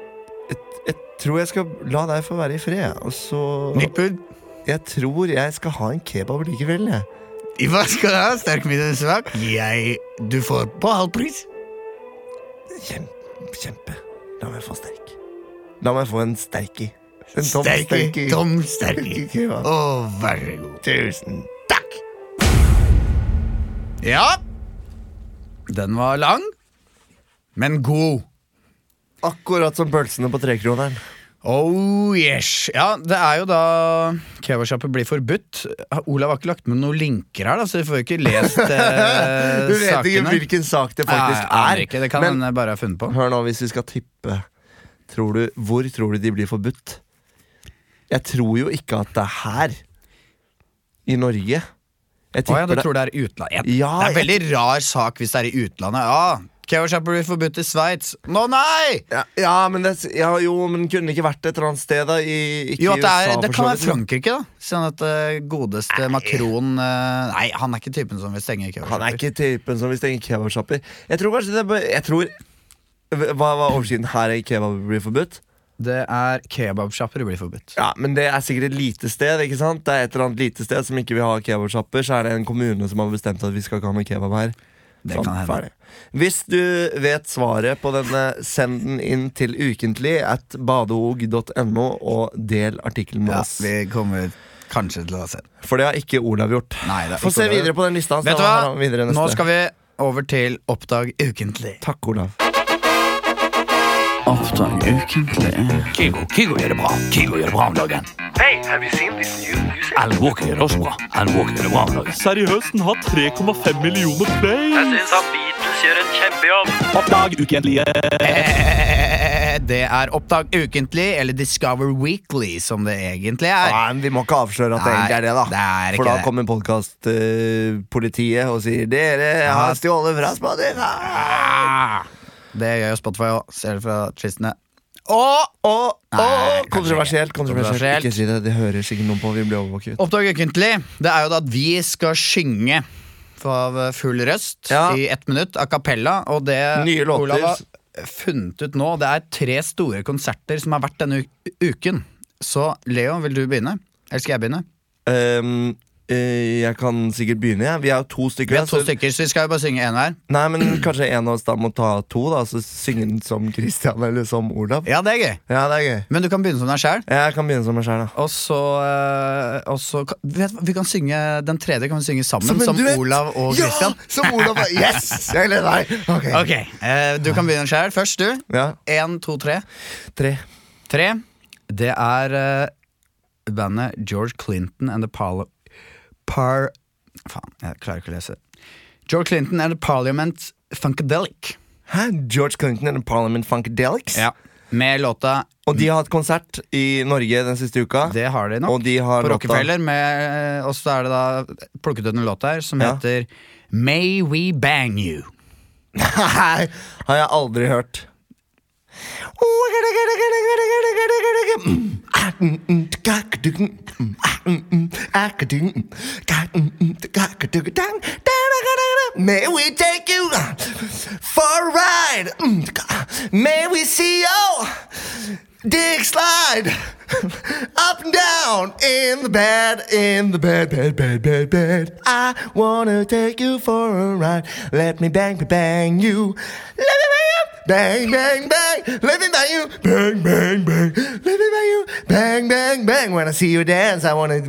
[SPEAKER 2] jeg, jeg tror jeg skal la deg få være i fred. Og så
[SPEAKER 1] Nytt bud.
[SPEAKER 2] Jeg tror jeg skal ha en kebab likevel. Jeg.
[SPEAKER 1] Hva skal du ha? Sterk middag svak? Jeg Du får på halv pris.
[SPEAKER 2] Kjempe, kjempe. La meg få sterk. La meg få en sterky. En tom
[SPEAKER 1] Sterke,
[SPEAKER 2] sterky.
[SPEAKER 1] tom sterke.
[SPEAKER 2] Kebab.
[SPEAKER 1] Å, vær så god.
[SPEAKER 2] Tusen takk!
[SPEAKER 1] Ja. Den var lang, men god.
[SPEAKER 2] Akkurat som pølsene på trekroneren.
[SPEAKER 1] Oh yes. Ja, det er jo da kebabsjappe blir forbudt. Olav har ikke lagt med noen linker her, da, så vi får jo ikke lest eh,
[SPEAKER 2] Du vet ikke
[SPEAKER 1] sakene.
[SPEAKER 2] hvilken sak det
[SPEAKER 1] Nei,
[SPEAKER 2] faktisk
[SPEAKER 1] jeg aner
[SPEAKER 2] er.
[SPEAKER 1] Ikke. Det kan
[SPEAKER 2] men
[SPEAKER 1] hende jeg bare har funnet på.
[SPEAKER 2] hør nå, hvis vi skal tippe tror du, Hvor tror du de blir forbudt? Jeg tror jo ikke at det er her. I Norge. Jeg
[SPEAKER 1] Å ja, du
[SPEAKER 2] tipper det-
[SPEAKER 1] tror det er utlandet?
[SPEAKER 2] Ja,
[SPEAKER 1] det er veldig rar sak hvis det er i utlandet. Ja, Kebabsjappe blir forbudt i Sveits. Nå, nei!
[SPEAKER 2] ja, ja, men det, ja, jo, men kunne det ikke vært et eller annet sted, da? I, ikke
[SPEAKER 1] Jo,
[SPEAKER 2] i
[SPEAKER 1] at det, er,
[SPEAKER 2] USA,
[SPEAKER 1] det
[SPEAKER 2] for
[SPEAKER 1] kan
[SPEAKER 2] så
[SPEAKER 1] være
[SPEAKER 2] vidt, men-
[SPEAKER 1] Frankrike, da. Sånn at eh, godeste Macron eh, Nei, han er ikke typen som vil stenge kebabsjapper.
[SPEAKER 2] Han er ikke typen som vil stenge kebabsjapper. Jeg tror kanskje det er bare- Jeg tror Hva var overskriften? Her er kebab blir forbudt?
[SPEAKER 1] Det er kebabsjapper blir forbudt.
[SPEAKER 2] Ja, Men det er sikkert et lite sted. ikke sant? Det er et eller annet lite sted som ikke vil ha kebabsjapper. Så er det en kommune som har bestemt at vi skal ikke ha noe kebab her.
[SPEAKER 1] Det
[SPEAKER 2] Sånn,
[SPEAKER 1] kan hende.
[SPEAKER 2] ferdig. Hvis du vet svaret på denne, send den inn til ukentlig at badeog.no, og del artikkelen med
[SPEAKER 1] Ja,
[SPEAKER 2] oss.
[SPEAKER 1] vi kommer kanskje til å se.
[SPEAKER 2] For det har ikke Olav gjort.
[SPEAKER 1] Nei, det har
[SPEAKER 2] Få
[SPEAKER 1] ikke
[SPEAKER 2] se
[SPEAKER 1] Olav
[SPEAKER 2] videre på den lista. hans,
[SPEAKER 1] Vet du
[SPEAKER 2] da har han videre
[SPEAKER 1] hva?
[SPEAKER 2] neste.
[SPEAKER 1] Nå skal vi over til Oppdag ukentlig.
[SPEAKER 2] Takk, Olav.
[SPEAKER 5] Kigo, Kigo gjør det bra. Kigo gjør det bra om dagen. Alan Walker gjør det også bra. Alan Walker gjør det bra om dagen.
[SPEAKER 4] Seriøst, den har 3,5 millioner play.
[SPEAKER 6] syns at Beatles gjør en kjempejobb.
[SPEAKER 4] Oppdag ukentlige.
[SPEAKER 1] Eh, Det er Oppdag ukentlig, eller Discover Weekly, som det egentlig er.
[SPEAKER 2] Nei, men Vi må ikke avsløre at det
[SPEAKER 1] Nei,
[SPEAKER 2] egentlig er det, da.
[SPEAKER 1] det er ikke
[SPEAKER 2] For da
[SPEAKER 1] det.
[SPEAKER 2] kommer podkastpolitiet og sier 'Dere jeg har stjålet fra Spotify'.
[SPEAKER 1] Ah, Det gjør jo Spotify òg, ser det fra tristene. Og
[SPEAKER 2] Og,
[SPEAKER 1] Nei,
[SPEAKER 2] og kontroversielt, kontroversielt.
[SPEAKER 1] Kontroversielt.
[SPEAKER 2] Ikke si det, det hører sikkert noen på. Vi blir overvåket.
[SPEAKER 1] Oppdag ukentlig, det er jo da at vi skal synge av eh, full røst
[SPEAKER 2] Ja.
[SPEAKER 1] i ett minutt, a cappella, og det
[SPEAKER 2] Nye låter.
[SPEAKER 1] Olav har funnet ut nå, det er tre store konserter som har vært denne u- uken. Så Leo, vil du begynne? Eller skal jeg begynne?
[SPEAKER 2] Ehm, eh, jeg kan sikkert begynne, jeg. Vi er jo to stykker.
[SPEAKER 1] Vi har to
[SPEAKER 2] så-
[SPEAKER 1] stykker, så vi skal jo bare synge én hver.
[SPEAKER 2] Nei, men Kanskje en av oss da må ta to, da så synge den som Christian eller som Olav.
[SPEAKER 1] Ja, det er gøy.
[SPEAKER 2] Ja, det er gøy.
[SPEAKER 1] Men du kan begynne som deg sjæl.
[SPEAKER 2] Jeg kan begynne som meg sjæl, da.
[SPEAKER 1] Og så, eh, og så kan- vet, du hva, Vi kan synge den tredje kan vi synge sammen, som,
[SPEAKER 2] en duett.
[SPEAKER 1] Olav og Christian.
[SPEAKER 2] Ja, som Olav og Yes! Jeg gleder meg. Ok.
[SPEAKER 1] Ok, eh, Du kan begynne sjøl. Først du.
[SPEAKER 2] Ja,
[SPEAKER 1] Én, to, tre.
[SPEAKER 2] tre.
[SPEAKER 1] Tre. Det er eh, bandet George Clinton and the Parlo... Par... Faen, jeg klarer ikke å lese. George Clinton and the Parliament Funkadelic.
[SPEAKER 2] Hæ? George Clinton and the Parliament Funkadelics?
[SPEAKER 1] Med låta
[SPEAKER 2] Og de har hatt konsert i Norge den siste uka.
[SPEAKER 1] Det har de nok.
[SPEAKER 2] og de har
[SPEAKER 1] på
[SPEAKER 2] låta-
[SPEAKER 1] Rockefeller. Med, eh, og så er det da plukket ut en låt der som
[SPEAKER 2] Ja.
[SPEAKER 1] heter May We Bang You.
[SPEAKER 2] Nei, har jeg aldri hørt. May we take you for a ride? May we see you dick slide up and down in the bed, in the bed, bed, bed, bed, bed. I wanna take you for a ride. Let me bang, bang you. Let me bang you. Bang, bang, bang. Let me bang you. Bang, bang, bang. Let me bang you. Bang, bang, bang. When I see you dance, I wanna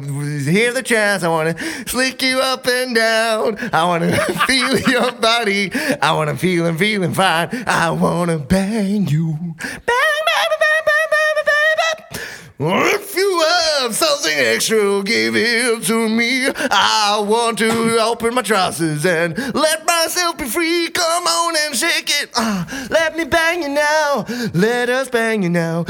[SPEAKER 2] hear the chants. I wanna slick you up and down. I wanna feel your body. I wanna feel and feeling fine. I wanna bang you. Bang, bang, bang, bang, bang, bang, bang, bang. If you have something extra, give it to me. I want to open my trousers and let myself be free. Come on and shake it. Ah, let me bang you now. Let us bang you now.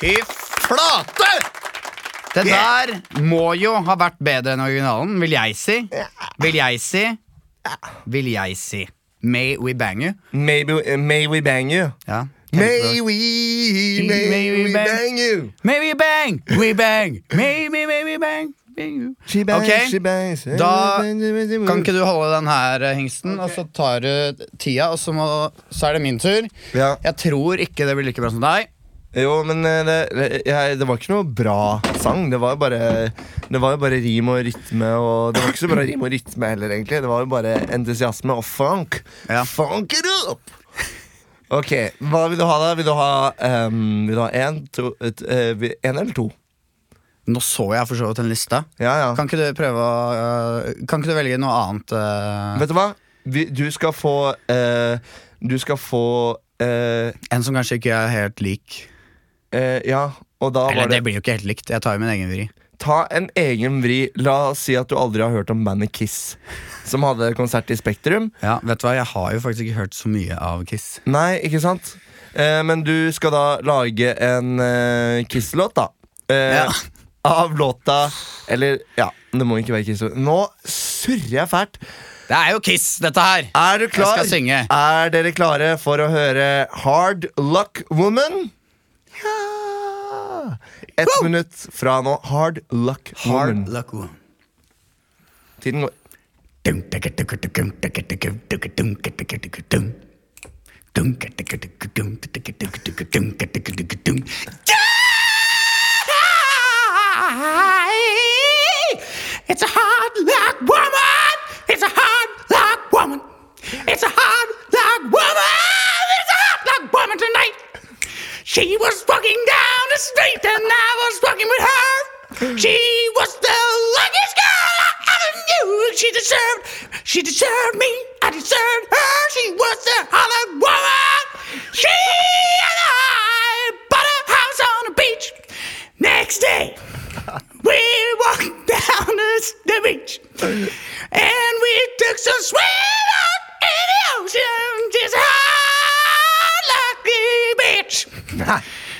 [SPEAKER 1] Fy flate! Det der må jo ha vært bedre enn originalen, vil jeg si. Vil jeg si. Vil jeg si. May we bang you?
[SPEAKER 2] Maybe, may we bang you?
[SPEAKER 1] Ja.
[SPEAKER 2] May we,
[SPEAKER 1] kjempebra.
[SPEAKER 2] may, we bang you.
[SPEAKER 1] May we bang, we bang. May we, may we bang. bang you.
[SPEAKER 2] She bangs,
[SPEAKER 1] Ok,
[SPEAKER 2] she bangs.
[SPEAKER 1] da Kan ikke du holde den her, eh, hengsten, og så tar du tida, og så, må, så er det min tur.
[SPEAKER 2] Ja.
[SPEAKER 1] Jeg tror ikke det blir like bra som deg.
[SPEAKER 2] Jo, men eh, det, det- jeg, det var ikke noe bra sang. Det var jo bare, det var jo bare rim og rytme. Og det var ikke så bra rim og rytme heller, egentlig. Det var jo bare entusiasme og funk.
[SPEAKER 1] Ja.
[SPEAKER 2] Funk it up! Ok, hva vil du ha, da? Vil du ha um, Vil du ha én, to et, eh, vi- En eller to?
[SPEAKER 1] Nå så jeg for så vidt en liste.
[SPEAKER 2] Ja, ja.
[SPEAKER 1] Kan ikke du prøve å eh, Kan ikke du velge noe annet? eh,
[SPEAKER 2] Vet du hva? Vi, du skal få eh, Du skal få eh,
[SPEAKER 1] en som kanskje ikke er helt lik.
[SPEAKER 2] eh, Ja, og da var
[SPEAKER 1] Eller det
[SPEAKER 2] det
[SPEAKER 1] blir jo ikke helt likt. Jeg tar jo min egen vri.
[SPEAKER 2] Ta en egen vri. La oss si at du aldri har hørt om bandet Kiss, som hadde konsert i Spektrum.
[SPEAKER 1] Ja, vet du hva, Jeg har jo faktisk ikke hørt så mye av Kiss.
[SPEAKER 2] Nei, ikke sant? Eh, men du skal da lage en eh, Kiss-låt, da. Eh,
[SPEAKER 1] Ja.
[SPEAKER 2] Av låta Eller, ja, det må ikke være Kiss. Nå surrer jeg fælt.
[SPEAKER 1] Det er jo Kiss, dette her!
[SPEAKER 2] Er du klar?
[SPEAKER 1] Jeg skal synge.
[SPEAKER 2] Er dere klare for å høre Hard Luck Woman? Ja Ett minutt fra nå. Hard Luck Woman.
[SPEAKER 1] Hard luck woman.
[SPEAKER 2] Tiden går.
[SPEAKER 7] It's a hard luck woman. It's a hard luck woman. It's a hard luck woman. It's a hard luck woman tonight. She was walking down the street and I was walking with her. She was the luckiest girl I ever knew. She deserved, she deserved me. I deserved her. She was the hard luck woman. She and I bought a house on the beach. Next day. We walked down the, the beach and we took some swim out in the ocean. She's a hard lucky bitch.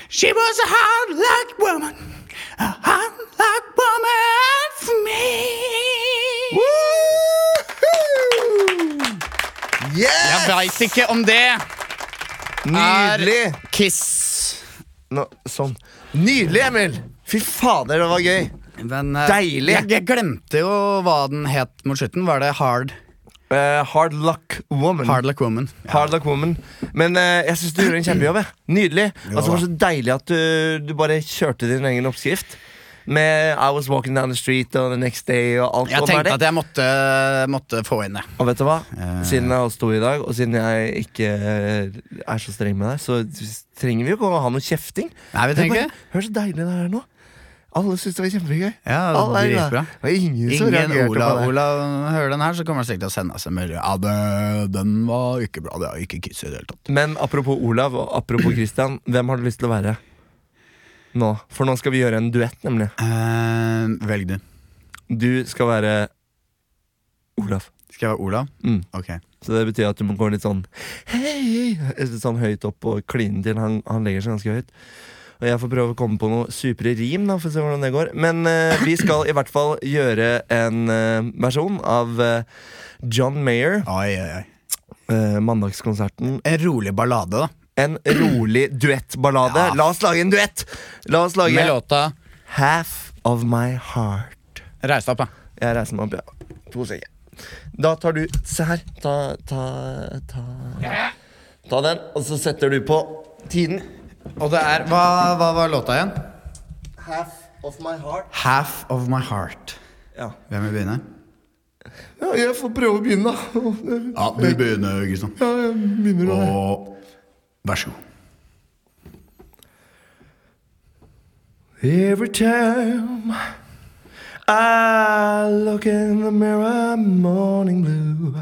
[SPEAKER 7] she was a hard luck woman, a hard luck woman for me.
[SPEAKER 1] Jeg
[SPEAKER 2] Yes!
[SPEAKER 1] veit ikke om det
[SPEAKER 2] Nydelig!
[SPEAKER 1] er Kiss.
[SPEAKER 2] Nå, sånn. Nydelig, Emil! Fy fader, det var gøy.
[SPEAKER 1] Men, eh,
[SPEAKER 2] Deilig.
[SPEAKER 1] Jeg, jeg glemte jo hva den het mot slutten. Var det Hard,
[SPEAKER 2] Eh, hard Luck Woman.
[SPEAKER 1] hard Luck Woman?
[SPEAKER 2] Hard luck woman. Men eh, jeg syns du gjorde en kjempejobb. jeg. Nydelig. Altså, det var så deilig at du, du bare kjørte din egen oppskrift. Med I was walking down the street og the next day og alt.
[SPEAKER 1] Jeg
[SPEAKER 2] om
[SPEAKER 1] tenkte
[SPEAKER 2] det.
[SPEAKER 1] at jeg måtte, måtte få inn det.
[SPEAKER 2] Og vet du hva? Siden jeg også sto i dag, og siden jeg ikke eh, er så streng med deg, så trenger vi jo ikke å ha noe kjefting.
[SPEAKER 1] Nei,
[SPEAKER 2] Det
[SPEAKER 1] vi
[SPEAKER 2] er
[SPEAKER 1] trenger
[SPEAKER 2] bare- Hør så deilig det er nå. Alle syns det var kjempegøy.
[SPEAKER 1] Ja, det var
[SPEAKER 2] Alle er glad.
[SPEAKER 1] dritbra.
[SPEAKER 2] Det var ingen som
[SPEAKER 1] Ingen
[SPEAKER 2] reagerte
[SPEAKER 1] Olav,
[SPEAKER 2] på det.
[SPEAKER 1] Olav hører den her, så kommer han sikkert til å sende oss en melding. Ja, det, den var ikke bra. Det er ikke Kiss i det hele tatt.
[SPEAKER 2] Men apropos Olav og apropos Christian, hvem har du lyst til å være nå? For nå skal vi gjøre en duett, nemlig.
[SPEAKER 1] Eh, velg du.
[SPEAKER 2] Du skal være Olav.
[SPEAKER 1] Skal jeg være Olav?
[SPEAKER 2] Mm.
[SPEAKER 1] Ok.
[SPEAKER 2] Så det betyr at du må gå litt sånn hei, litt sånn høyt opp og kline til. Han, han legger seg ganske høyt. Og jeg får prøve å komme på noe supre rim, da, for å se hvordan det går. Men eh, vi skal i hvert fall gjøre en eh, versjon av eh, John Mayer,
[SPEAKER 1] Oi, oi, oi.
[SPEAKER 2] eh, mandagskonserten.
[SPEAKER 1] En rolig ballade, da.
[SPEAKER 2] En rolig duettballade.
[SPEAKER 1] Ja.
[SPEAKER 2] La oss lage en duett! La oss lage
[SPEAKER 1] Med låta
[SPEAKER 2] Half of My Heart.
[SPEAKER 1] Reis deg opp, da.
[SPEAKER 2] Jeg reiser meg opp, ja. To sekunder. Da tar du Se her. Ta, ta, ta Ta den, og så setter du på tiden.
[SPEAKER 1] Og det er Hva, hva var låta igjen?
[SPEAKER 2] Half of my heart.
[SPEAKER 1] Half of my heart.
[SPEAKER 2] Ja.
[SPEAKER 1] Hvem vil begynne?
[SPEAKER 2] ja jeg får prøve å begynne, da.
[SPEAKER 1] Ja, du begynner, Kristian.
[SPEAKER 2] Ja, jeg begynner da.
[SPEAKER 1] Og vær så god.
[SPEAKER 2] Every time I look in the mirror, morning blue,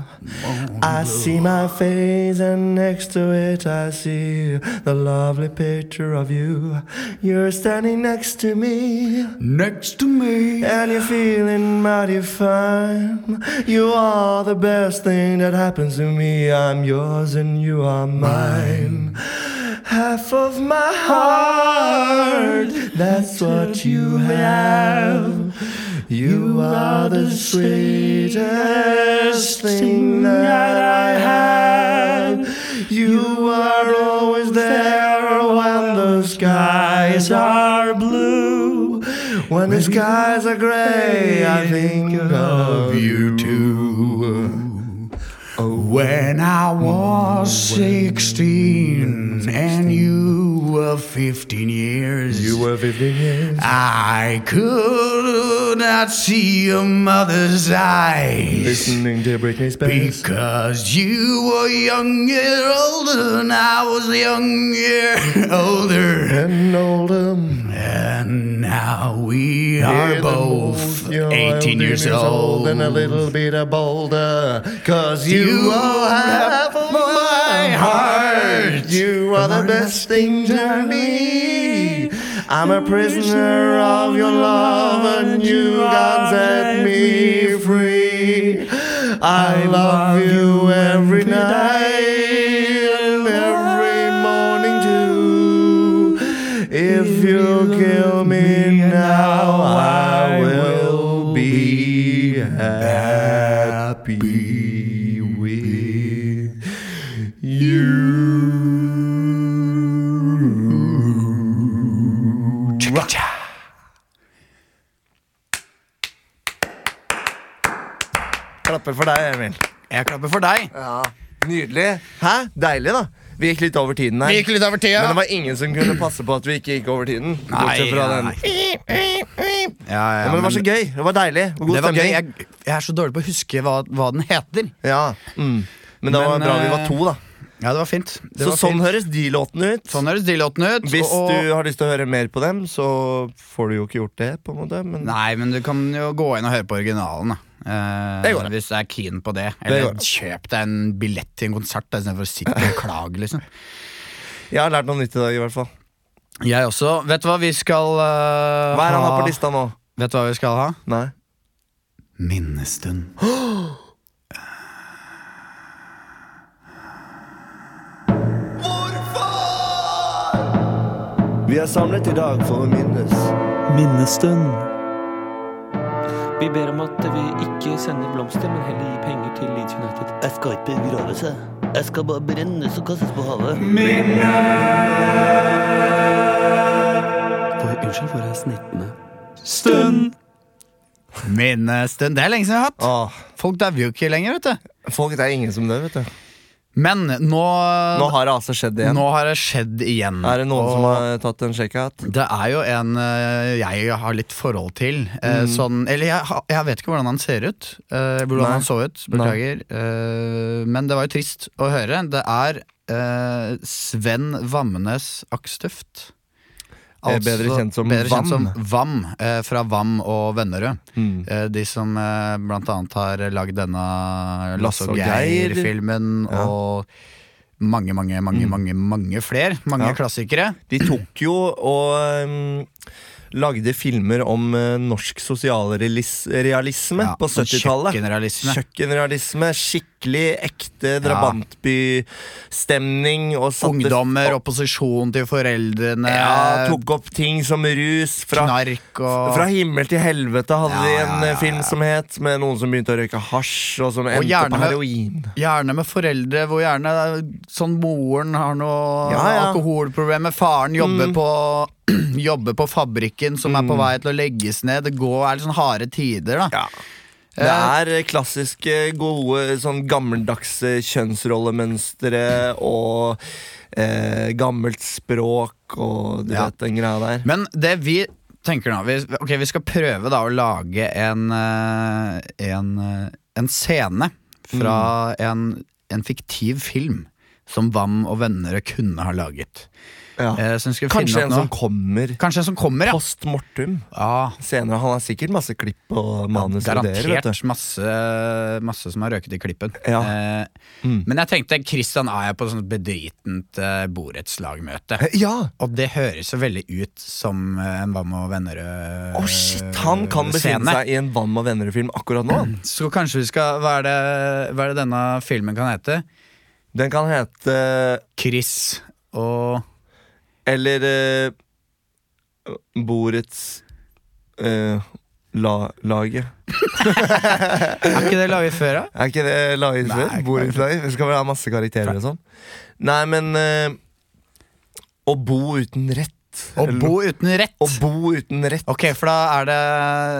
[SPEAKER 2] I see my face, and next to it, I see the lovely picture of you. You're standing next to me.
[SPEAKER 1] Next to me.
[SPEAKER 2] And you're feeling mighty fine. You are the best thing that happens to me. I'm yours and you are mine. Half of my heart, that's what you have. You are the sweetest thing that I have. You are always there skies are blue, when the skies are gray, I think of you too.
[SPEAKER 1] When I was 16 and you were 15 years,
[SPEAKER 2] You were 15 years.
[SPEAKER 1] I could not see your mother's eyes.
[SPEAKER 2] Listening to Britney Spears.
[SPEAKER 1] Because you were younger, older, and I was younger, older.
[SPEAKER 2] And Oldham.
[SPEAKER 1] And now we are both 18 years old.
[SPEAKER 2] And a little bit of bolder. Cause you,
[SPEAKER 1] You
[SPEAKER 2] are half of my heart.
[SPEAKER 1] heart.
[SPEAKER 2] You are the best thing to me. I'm a prisoner of your love and you God set me free. I love you every night and every morning too. If you kill me now,
[SPEAKER 1] Oh,
[SPEAKER 2] I will be happy with you. Klapper for deg, Emil.
[SPEAKER 1] Jeg klapper for deg.
[SPEAKER 2] Ja, Nydelig. Hæ? Deilig, da. Vi gikk litt over tiden her.
[SPEAKER 1] Vi gikk litt over tida.
[SPEAKER 2] Men det var ingen som kunne passe på at vi ikke gikk over tiden. Bortsett fra den.
[SPEAKER 1] Ja, ja,
[SPEAKER 2] Ja, men det var så gøy. Det var deilig. Det var God
[SPEAKER 1] det var gøy.
[SPEAKER 2] stemning.
[SPEAKER 1] Jeg, jeg er så dårlig på å huske hva, hva den heter.
[SPEAKER 2] Ja. Mm. Men det var
[SPEAKER 1] Men,
[SPEAKER 2] bra vi var
[SPEAKER 1] eh,
[SPEAKER 2] to, da.
[SPEAKER 1] Ja, det var fint. Det
[SPEAKER 2] Så
[SPEAKER 1] var
[SPEAKER 2] sånn
[SPEAKER 1] fint.
[SPEAKER 2] høres de låtene ut.
[SPEAKER 1] Sånn høres de låtene ut.
[SPEAKER 2] Hvis
[SPEAKER 1] og-
[SPEAKER 2] du har lyst til å høre mer på dem, så får du jo ikke gjort det. på en måte Men
[SPEAKER 1] Nei, men du kan jo gå inn og høre på originalen. Da. Eh,
[SPEAKER 2] Det går an.
[SPEAKER 1] Hvis du er keen på det.
[SPEAKER 2] Det går
[SPEAKER 1] Eller
[SPEAKER 2] an.
[SPEAKER 1] kjøp deg en billett til en konsert da, istedenfor å sitte og klage. liksom
[SPEAKER 2] jeg har lært noe nytt i dag, i hvert fall.
[SPEAKER 1] Jeg også. Vet du hva vi skal
[SPEAKER 2] Hva
[SPEAKER 1] eh,
[SPEAKER 2] er han har
[SPEAKER 1] ha?
[SPEAKER 2] på lista nå?
[SPEAKER 1] Vet du hva vi skal ha?
[SPEAKER 2] Nei.
[SPEAKER 1] Minnestund.
[SPEAKER 2] Vi er samlet i dag for å minnes.
[SPEAKER 4] Minnestund.
[SPEAKER 8] Vi ber om at vi ikke sender blomster, men heller gir penger til Leeds United.
[SPEAKER 9] Jeg skal ikke begraves, jeg. Jeg skal bare brennes og kastes på havet.
[SPEAKER 8] For, unnskyld for jeg snittende.
[SPEAKER 4] Stund.
[SPEAKER 1] Minnestund. Det er lenge siden vi har hatt.
[SPEAKER 2] Åh,
[SPEAKER 1] Folk dauer jo ikke lenger, vet du.
[SPEAKER 2] Ah. folk, det er ingen som dør, vet du.
[SPEAKER 1] Men nå,
[SPEAKER 2] Nå har det altså skjedd igjen.
[SPEAKER 1] Nå har det skjedd igjen.
[SPEAKER 2] Er det noen
[SPEAKER 1] Og
[SPEAKER 2] som har tatt en sjekkout?
[SPEAKER 1] Det er jo en eh, jeg har litt forhold til. eh,
[SPEAKER 2] Mm.
[SPEAKER 1] Sånn Eller jeg, ha- jeg vet ikke hvordan han ser ut. eh, hvordan
[SPEAKER 2] Nei.
[SPEAKER 1] han så ut. Beklager. Eh, men det var jo trist å høre. Det er eh, Sven Vammenes Akstøft. Altså,
[SPEAKER 2] Eh, bedre kjent som
[SPEAKER 1] bedre kjent
[SPEAKER 2] Vam. Mm.
[SPEAKER 1] som Vam, eh, fra Vam og Vennerød. Eh, de som eh, blant annet har lagd denne Lasse
[SPEAKER 2] Lasse
[SPEAKER 1] og
[SPEAKER 2] og Geir.
[SPEAKER 1] Geir-filmen,
[SPEAKER 2] Ja. Mm.
[SPEAKER 1] og mange, mange, mange, mange, mange flere. Mange
[SPEAKER 2] Ja.
[SPEAKER 1] klassikere.
[SPEAKER 2] De tok jo og um, lagde filmer om uh, norsk sosialrealisme
[SPEAKER 1] Ja,
[SPEAKER 2] på
[SPEAKER 1] sånn
[SPEAKER 2] 70-tallet.
[SPEAKER 1] kjøkkenrealisme.
[SPEAKER 2] Kjøkkenrealisme, Skikkelig ekte drabantbystemning. og satte-
[SPEAKER 1] Ungdommer, opposisjon til foreldrene,
[SPEAKER 2] Ja, tok opp ting som rus. Fra,
[SPEAKER 1] knark eh, og
[SPEAKER 2] fra himmel til helvete hadde
[SPEAKER 1] Ja,
[SPEAKER 2] de
[SPEAKER 1] ja,
[SPEAKER 2] en
[SPEAKER 1] ja,
[SPEAKER 2] eh,
[SPEAKER 1] ja,
[SPEAKER 2] film som het, med noen som begynte å røyke hasj, og som endte
[SPEAKER 1] gjerne
[SPEAKER 2] på
[SPEAKER 1] med-
[SPEAKER 2] heroin.
[SPEAKER 1] Gjerne med foreldre hvor gjerne sånn moren har noe
[SPEAKER 2] Ja, ja. Mm.
[SPEAKER 1] alkoholproblemer, faren jobber, på, jobber på fabrikken som er på vei til å legges ned. Det går, er litt sånn harde tider, da.
[SPEAKER 2] Det er eh, klassiske, gode, sånn gammeldagse kjønnsrollemønstre og eh, gammelt språk og du
[SPEAKER 1] Ja.
[SPEAKER 2] vet den greia der.
[SPEAKER 1] Men det vi tenker nå vi, Ok, vi skal prøve da å lage en eh, En, eh, en scene fra
[SPEAKER 2] Mm.
[SPEAKER 1] en, en fiktiv film som Vam og venner kunne ha laget.
[SPEAKER 2] ja.
[SPEAKER 1] Eh, så vi skal
[SPEAKER 2] Ah. Kanskje
[SPEAKER 1] finne
[SPEAKER 2] en
[SPEAKER 1] opp
[SPEAKER 2] som
[SPEAKER 1] noe.
[SPEAKER 2] kommer
[SPEAKER 1] Kanskje en som kommer, ja.
[SPEAKER 2] post mortum
[SPEAKER 1] ja
[SPEAKER 2] senere. Han har sikkert masse klipp og manus og ideer. vet
[SPEAKER 1] garantert
[SPEAKER 2] du.
[SPEAKER 1] masse, masse som har røket i klippen.
[SPEAKER 2] Ja. Mm.
[SPEAKER 1] Eh, Men jeg tenkte Christian er på sånt bedritent eh, borettslagmøte.
[SPEAKER 2] Eh, Ja!
[SPEAKER 1] Og det høres så veldig ut som eh, en Vam og Vennerød-scene.
[SPEAKER 2] Å, shit! Han
[SPEAKER 1] Eh,
[SPEAKER 2] kan befinne seg i en Vann og venner-film akkurat nå. han.
[SPEAKER 1] Så kanskje vi skal hva er, det, hva er det denne filmen kan hete?
[SPEAKER 2] Den kan hete
[SPEAKER 1] Chris og
[SPEAKER 2] Eller eh, Borets eh, la, Laget.
[SPEAKER 1] Er ikke det laget før, da?
[SPEAKER 2] Er ikke det Laget
[SPEAKER 1] Nei,
[SPEAKER 2] før?
[SPEAKER 1] ikke
[SPEAKER 2] Borettslag? Det skal vel ha masse karakterer og sånn? Nei, men eh, Å bo uten rett
[SPEAKER 5] rett.
[SPEAKER 7] Å
[SPEAKER 5] Eller
[SPEAKER 7] bo
[SPEAKER 5] noe.
[SPEAKER 7] uten rett.
[SPEAKER 5] Å bo uten rett.
[SPEAKER 7] Ok, for da er det,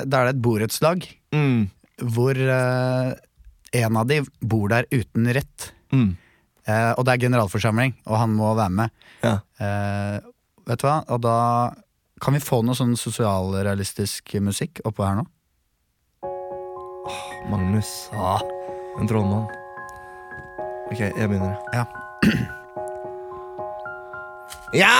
[SPEAKER 7] da er det et borettslag
[SPEAKER 5] Mm.
[SPEAKER 7] hvor eh, en av de bor der uten rett.
[SPEAKER 5] Mm.
[SPEAKER 7] Eh, og det er generalforsamling, og han må være med.
[SPEAKER 5] Ja.
[SPEAKER 7] Eh, vet du hva? Og da kan vi få noe sånn sosialrealistisk musikk oppå her nå.
[SPEAKER 5] Magnus. En trollmann. Ok, jeg begynner.
[SPEAKER 7] Ja.
[SPEAKER 5] Ja,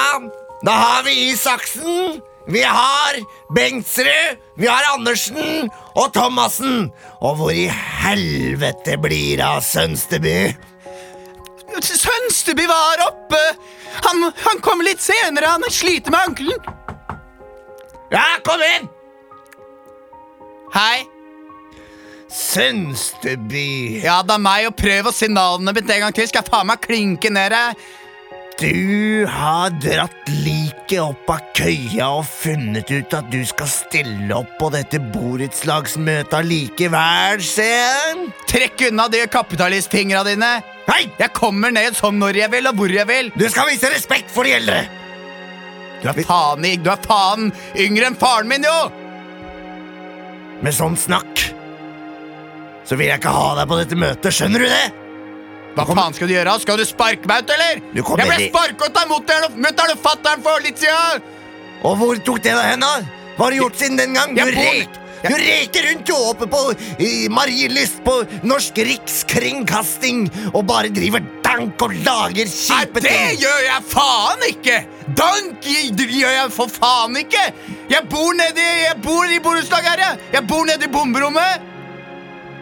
[SPEAKER 5] da har vi Isaksen. Vi har Bengtsrud. Vi har Andersen og Thomassen. Og hvor i helvete blir det av Sønsteby?
[SPEAKER 7] Sønsteby var oppe! Han, han kom litt senere, han sliter med ankelen.
[SPEAKER 5] Ja, kom inn!
[SPEAKER 7] Hei.
[SPEAKER 5] Sønsteby.
[SPEAKER 7] Ja, det er meg, og prøv å si navnet mitt en gang til. Skal jeg faen meg klinke ned deg?
[SPEAKER 5] Du har dratt liket opp av køya og funnet ut at du skal stille opp på dette borettslagsmøtet allikevel, sen.
[SPEAKER 7] Trekk unna de kapitalistfingra dine.
[SPEAKER 5] Hei!
[SPEAKER 7] Jeg kommer ned som når jeg vil, og hvor jeg vil.
[SPEAKER 5] Du skal vise respekt for de eldre!
[SPEAKER 7] Du er faen, i- du er faen yngre enn faren min, jo!
[SPEAKER 5] Med sånn snakk så vil jeg ikke ha deg på dette møtet, skjønner du det?
[SPEAKER 7] Hva faen skal du gjøre? Skal du sparke meg ut, eller?
[SPEAKER 5] Du kommer
[SPEAKER 7] jeg ble
[SPEAKER 5] i-
[SPEAKER 7] sparket av mutter'n og mutter'n og fatter'n for litt siden!
[SPEAKER 5] Og hvor tok det deg hen, da? Hva har du gjort siden den gang? Du,
[SPEAKER 7] Jeg bor-
[SPEAKER 5] rek, du reker rundt og oppe på i Marielyst på Norsk Rikskringkasting og bare driver dank og lager
[SPEAKER 7] Nei,
[SPEAKER 5] kjipe
[SPEAKER 7] det
[SPEAKER 5] ting.
[SPEAKER 7] gjør jeg faen ikke! Dank i- det gjør jeg for faen ikke! Jeg bor nedi Jeg bor i borettslag her, jeg. Jeg bor nedi bomberommet.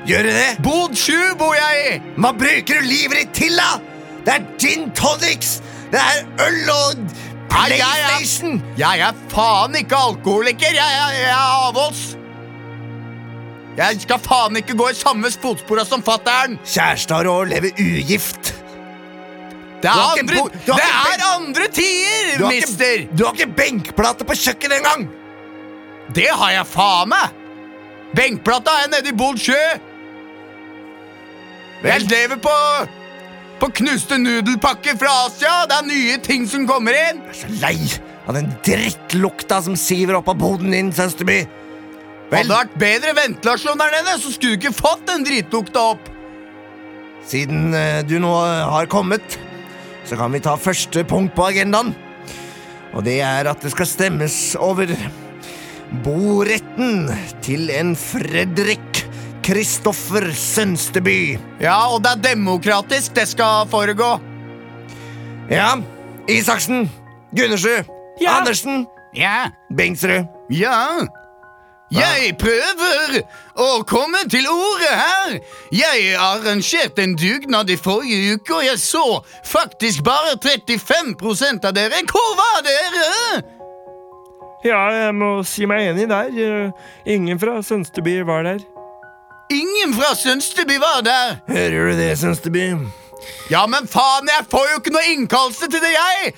[SPEAKER 5] Gjør du det?
[SPEAKER 7] Bod sju bor jeg i.
[SPEAKER 5] Hva bruker du livet ditt til, da? Det er gin tonics, det er øl og
[SPEAKER 7] Nei, jeg er-
[SPEAKER 5] PlayStation.
[SPEAKER 7] Jeg er faen ikke alkoholiker. Jeg, er- jeg er avholds. Jeg skal faen ikke gå i samme fotspora som fatter'n.
[SPEAKER 5] Kjærester og lever ugift. Du
[SPEAKER 7] Det er
[SPEAKER 5] har ikke
[SPEAKER 7] andre,
[SPEAKER 5] bo- du har
[SPEAKER 7] det
[SPEAKER 5] ikke
[SPEAKER 7] er andre tider,
[SPEAKER 5] Du har ikke-
[SPEAKER 7] mister.
[SPEAKER 5] Du har ikke benkplate på kjøkkenet engang!
[SPEAKER 7] Det har jeg faen meg! Benkplata er nede i Bod sjø! Jeg lever på På knuste nudelpakker fra Asia! Det er nye ting som kommer inn!
[SPEAKER 5] Jeg er så lei av den drittlukta som siver opp av boden din, Søsterby.
[SPEAKER 7] Hadde
[SPEAKER 5] Vel,
[SPEAKER 7] det vært bedre ventilasjon der nede, så skulle du ikke fått den dritlukta opp!
[SPEAKER 5] siden eh, du nå eh, har kommet, så kan vi ta første punkt på agendaen. Og det er at det skal stemmes over boretten til en Fredrik Kristoffer Sønsteby.
[SPEAKER 7] Ja, og det er demokratisk det skal foregå.
[SPEAKER 5] Ja, Isaksen, Gundersrud,
[SPEAKER 10] Ja.
[SPEAKER 5] Andersen,
[SPEAKER 7] Ja.
[SPEAKER 5] Bengtsrud.
[SPEAKER 7] Ja. Jeg prøver å komme til orde her. Jeg arrangerte en dugnad i forrige uke, og jeg så faktisk bare 35 av dere. Hvor var dere?
[SPEAKER 2] Ja, jeg må si meg enig der. Eh, Ingen fra Sønsteby var der.
[SPEAKER 7] Ingen fra Sønsteby var der.
[SPEAKER 5] Hører du det, Sønsteby?
[SPEAKER 7] Ja, men faen, jeg får jo ikke noe innkallelse til det, jeg!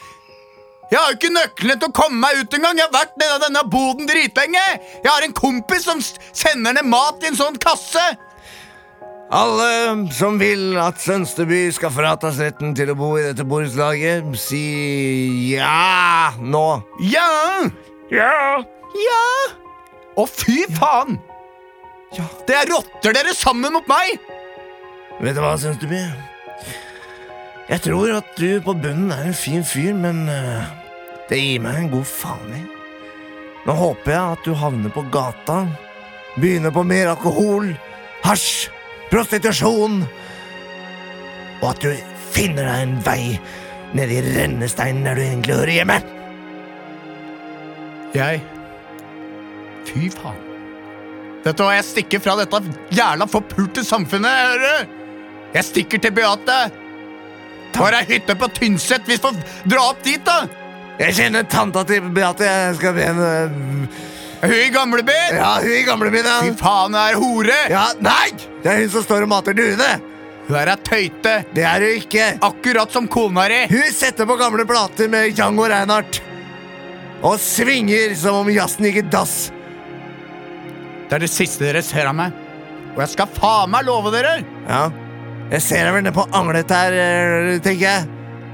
[SPEAKER 7] Jeg har jo ikke nøklene til å komme meg ut engang! Jeg har vært nede i denne boden dritlenge! Jeg har en kompis som s- sender ned mat i en sånn kasse!
[SPEAKER 5] Alle som vil at Sønsteby skal fratas retten til å bo i dette borettslaget, si ja nå.
[SPEAKER 7] Ja!
[SPEAKER 2] Ja!
[SPEAKER 7] Ja! Å, fy faen! Det er rotter dere sammen mot meg!
[SPEAKER 5] Vet du hva, Sønsteby? Jeg tror at du på bunnen er en fin fyr, men eh, det gir meg en god faen i. Nå håper jeg at du havner på gata, begynner på mer alkohol, hasj, prostitusjon, og at du finner deg en vei ned i rennesteinen der du egentlig hører hjemme.
[SPEAKER 7] Jeg Fy faen. Vet du hva, jeg stikker fra dette jævla forpulte samfunnet, hører du? Jeg stikker til Beate. Tar ei hytte på Tynset. Vi får dra opp dit, da.
[SPEAKER 5] Jeg kjenner tanta til Beate. Jeg skal be henne eh,
[SPEAKER 7] Hun i gamlebyen.
[SPEAKER 5] Ja, hun i gamlebyen,
[SPEAKER 7] Fy
[SPEAKER 5] ja.
[SPEAKER 7] faen, hun er hore.
[SPEAKER 5] ja. Nei! Det er hun som står og mater duene.
[SPEAKER 7] Hun er ei tøyte.
[SPEAKER 5] Det er hun ikke.
[SPEAKER 7] Akkurat som kona di.
[SPEAKER 5] Hun setter på gamle plater med Django Reinhardt. Og svinger som om jazzen gikk i dass.
[SPEAKER 7] Det er det siste dere ser av meg. Og jeg skal faen meg love dere.
[SPEAKER 5] Ja. Jeg ser deg vel nede på anglet her, eh, tenker jeg.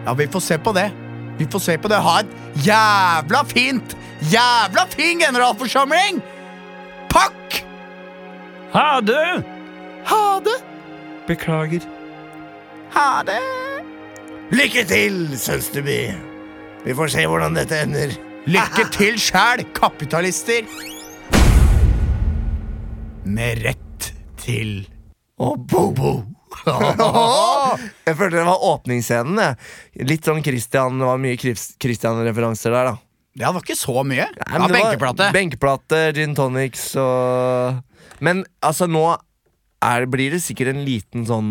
[SPEAKER 7] Ja, vi får se på det.
[SPEAKER 1] Vi får se på det. Ha et jævla fint, jævla fin generalforsamling! Pakk!
[SPEAKER 11] Ha det!
[SPEAKER 1] Ha det!
[SPEAKER 11] Beklager.
[SPEAKER 1] Ha det!
[SPEAKER 2] Lykke til, Sønsteby. Vi får se hvordan dette ender.
[SPEAKER 1] Lykke til sjæl, kapitalister! Med rett til
[SPEAKER 2] Og bobo. jeg følte det var åpningsscenen. Jeg. Litt sånn Christian, det var mye Chris- Christian-referanser der, da.
[SPEAKER 1] Ja, det var ikke så mye.
[SPEAKER 2] Nei,
[SPEAKER 1] ja,
[SPEAKER 2] men det var
[SPEAKER 1] benkeplate.
[SPEAKER 2] Benkeplate, gin tonics og Men altså, nå er, blir det sikkert en liten sånn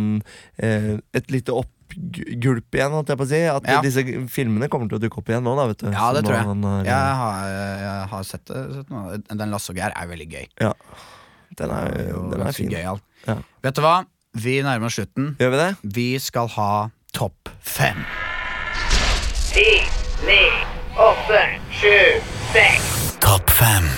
[SPEAKER 2] eh, Et lite oppgulp igjen, holdt jeg på å si. At
[SPEAKER 1] Ja.
[SPEAKER 2] disse filmene kommer til å dukke opp igjen nå, da, vet du.
[SPEAKER 1] Ja, det
[SPEAKER 2] Så nå eh,
[SPEAKER 1] tror jeg.
[SPEAKER 2] han har-
[SPEAKER 1] Jeg har, eh, jeg har sett det. Sett noe. Den Lasse og Geir er veldig gøy.
[SPEAKER 2] ja. Den er,
[SPEAKER 1] Og
[SPEAKER 2] den er
[SPEAKER 1] ganske
[SPEAKER 2] fin.
[SPEAKER 1] gøyal.
[SPEAKER 2] Ja.
[SPEAKER 1] Vet du hva? Vi nærmer oss slutten.
[SPEAKER 2] Gjør vi det?
[SPEAKER 1] Vi skal ha Topp fem.
[SPEAKER 7] Ti, ni, åtte, sju, seks.
[SPEAKER 1] Topp fem.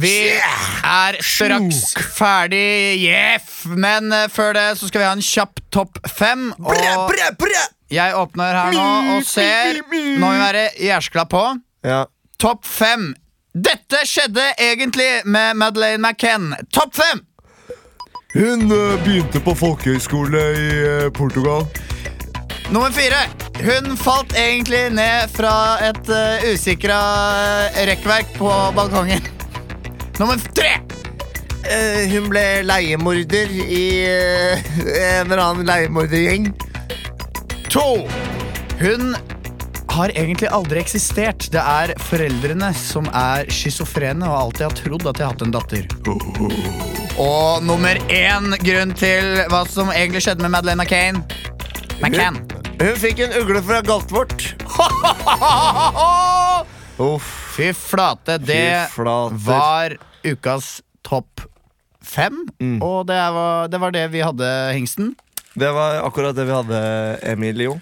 [SPEAKER 1] Vi er straks ferdig, jeff. Men eh, før det så skal vi ha en kjapp topp fem. Og jeg åpner her nå og ser. Nå må vi være jærskla på.
[SPEAKER 2] Ja.
[SPEAKER 1] Topp fem. Dette skjedde egentlig med Madeleine McCann. Topp fem!
[SPEAKER 2] Hun eh, begynte på folkehøyskole i eh, Portugal.
[SPEAKER 1] Nummer fire. Hun falt egentlig ned fra et uh, usikra rekkverk på balkongen. Nummer tre.
[SPEAKER 2] Eh, hun ble leiemorder i eh, en eller annen leiemordergjeng.
[SPEAKER 1] To. Hun har egentlig aldri eksistert. Det er foreldrene som er schizofrene og alltid har trodd at de har hatt en datter. Og nummer én grunn til hva som egentlig skjedde med Madeleine McCain. McCann.
[SPEAKER 2] Hun fikk en ugle fra galtvort. Uff.
[SPEAKER 1] Fy flate, det
[SPEAKER 2] flater.
[SPEAKER 1] var ukas topp fem. Og det var, det var det vi hadde, hingsten.
[SPEAKER 2] Det var akkurat det vi hadde, Emilio.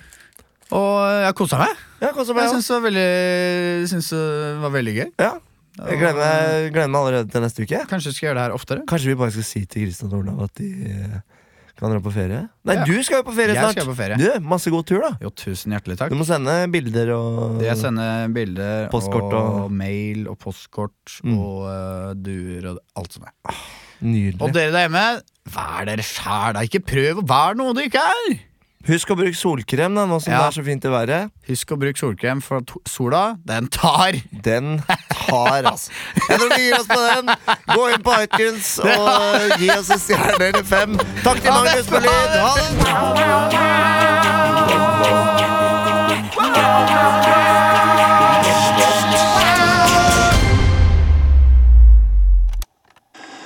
[SPEAKER 1] Og jeg kosa meg.
[SPEAKER 2] Ja, kosa
[SPEAKER 1] Jeg
[SPEAKER 2] meg. ja.
[SPEAKER 1] syns det, var veldig- syns det var veldig gøy.
[SPEAKER 2] Ja. Jeg gleder meg, gleder meg allerede til neste uke.
[SPEAKER 1] Kanskje vi skal gjøre det her oftere.
[SPEAKER 2] Kanskje vi bare skal si til Kristian og Olav at de eh, kan dra på ferie? Nei,
[SPEAKER 1] Ja.
[SPEAKER 2] du skal jo på ferie
[SPEAKER 1] Jeg
[SPEAKER 2] snart.
[SPEAKER 1] skal på ferie.
[SPEAKER 2] Du, Masse god tur, da.
[SPEAKER 1] Jo, tusen hjertelig takk.
[SPEAKER 2] Du må sende bilder og
[SPEAKER 1] Jeg sender bilder
[SPEAKER 2] Postkort
[SPEAKER 1] og,
[SPEAKER 2] og-
[SPEAKER 1] mail og postkort
[SPEAKER 2] Mm.
[SPEAKER 1] og eh, duer og alt som er. Og
[SPEAKER 2] Nydelig.
[SPEAKER 1] dere der hjemme, vær dere sjæl, da. Ikke prøv å være noe du ikke er.
[SPEAKER 2] Husk å bruke solkrem da, nå som
[SPEAKER 1] Ja.
[SPEAKER 2] det er så fint i været.
[SPEAKER 1] Husk å bruke solkrem, for at sola, den tar.
[SPEAKER 2] Den tar, altså. Jeg tror vi gir oss på den. Gå inn på iTunes og gi oss en stjerne eller fem. Takk til Magnus på lyd. Ha det!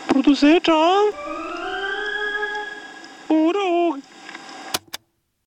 [SPEAKER 4] Produsert av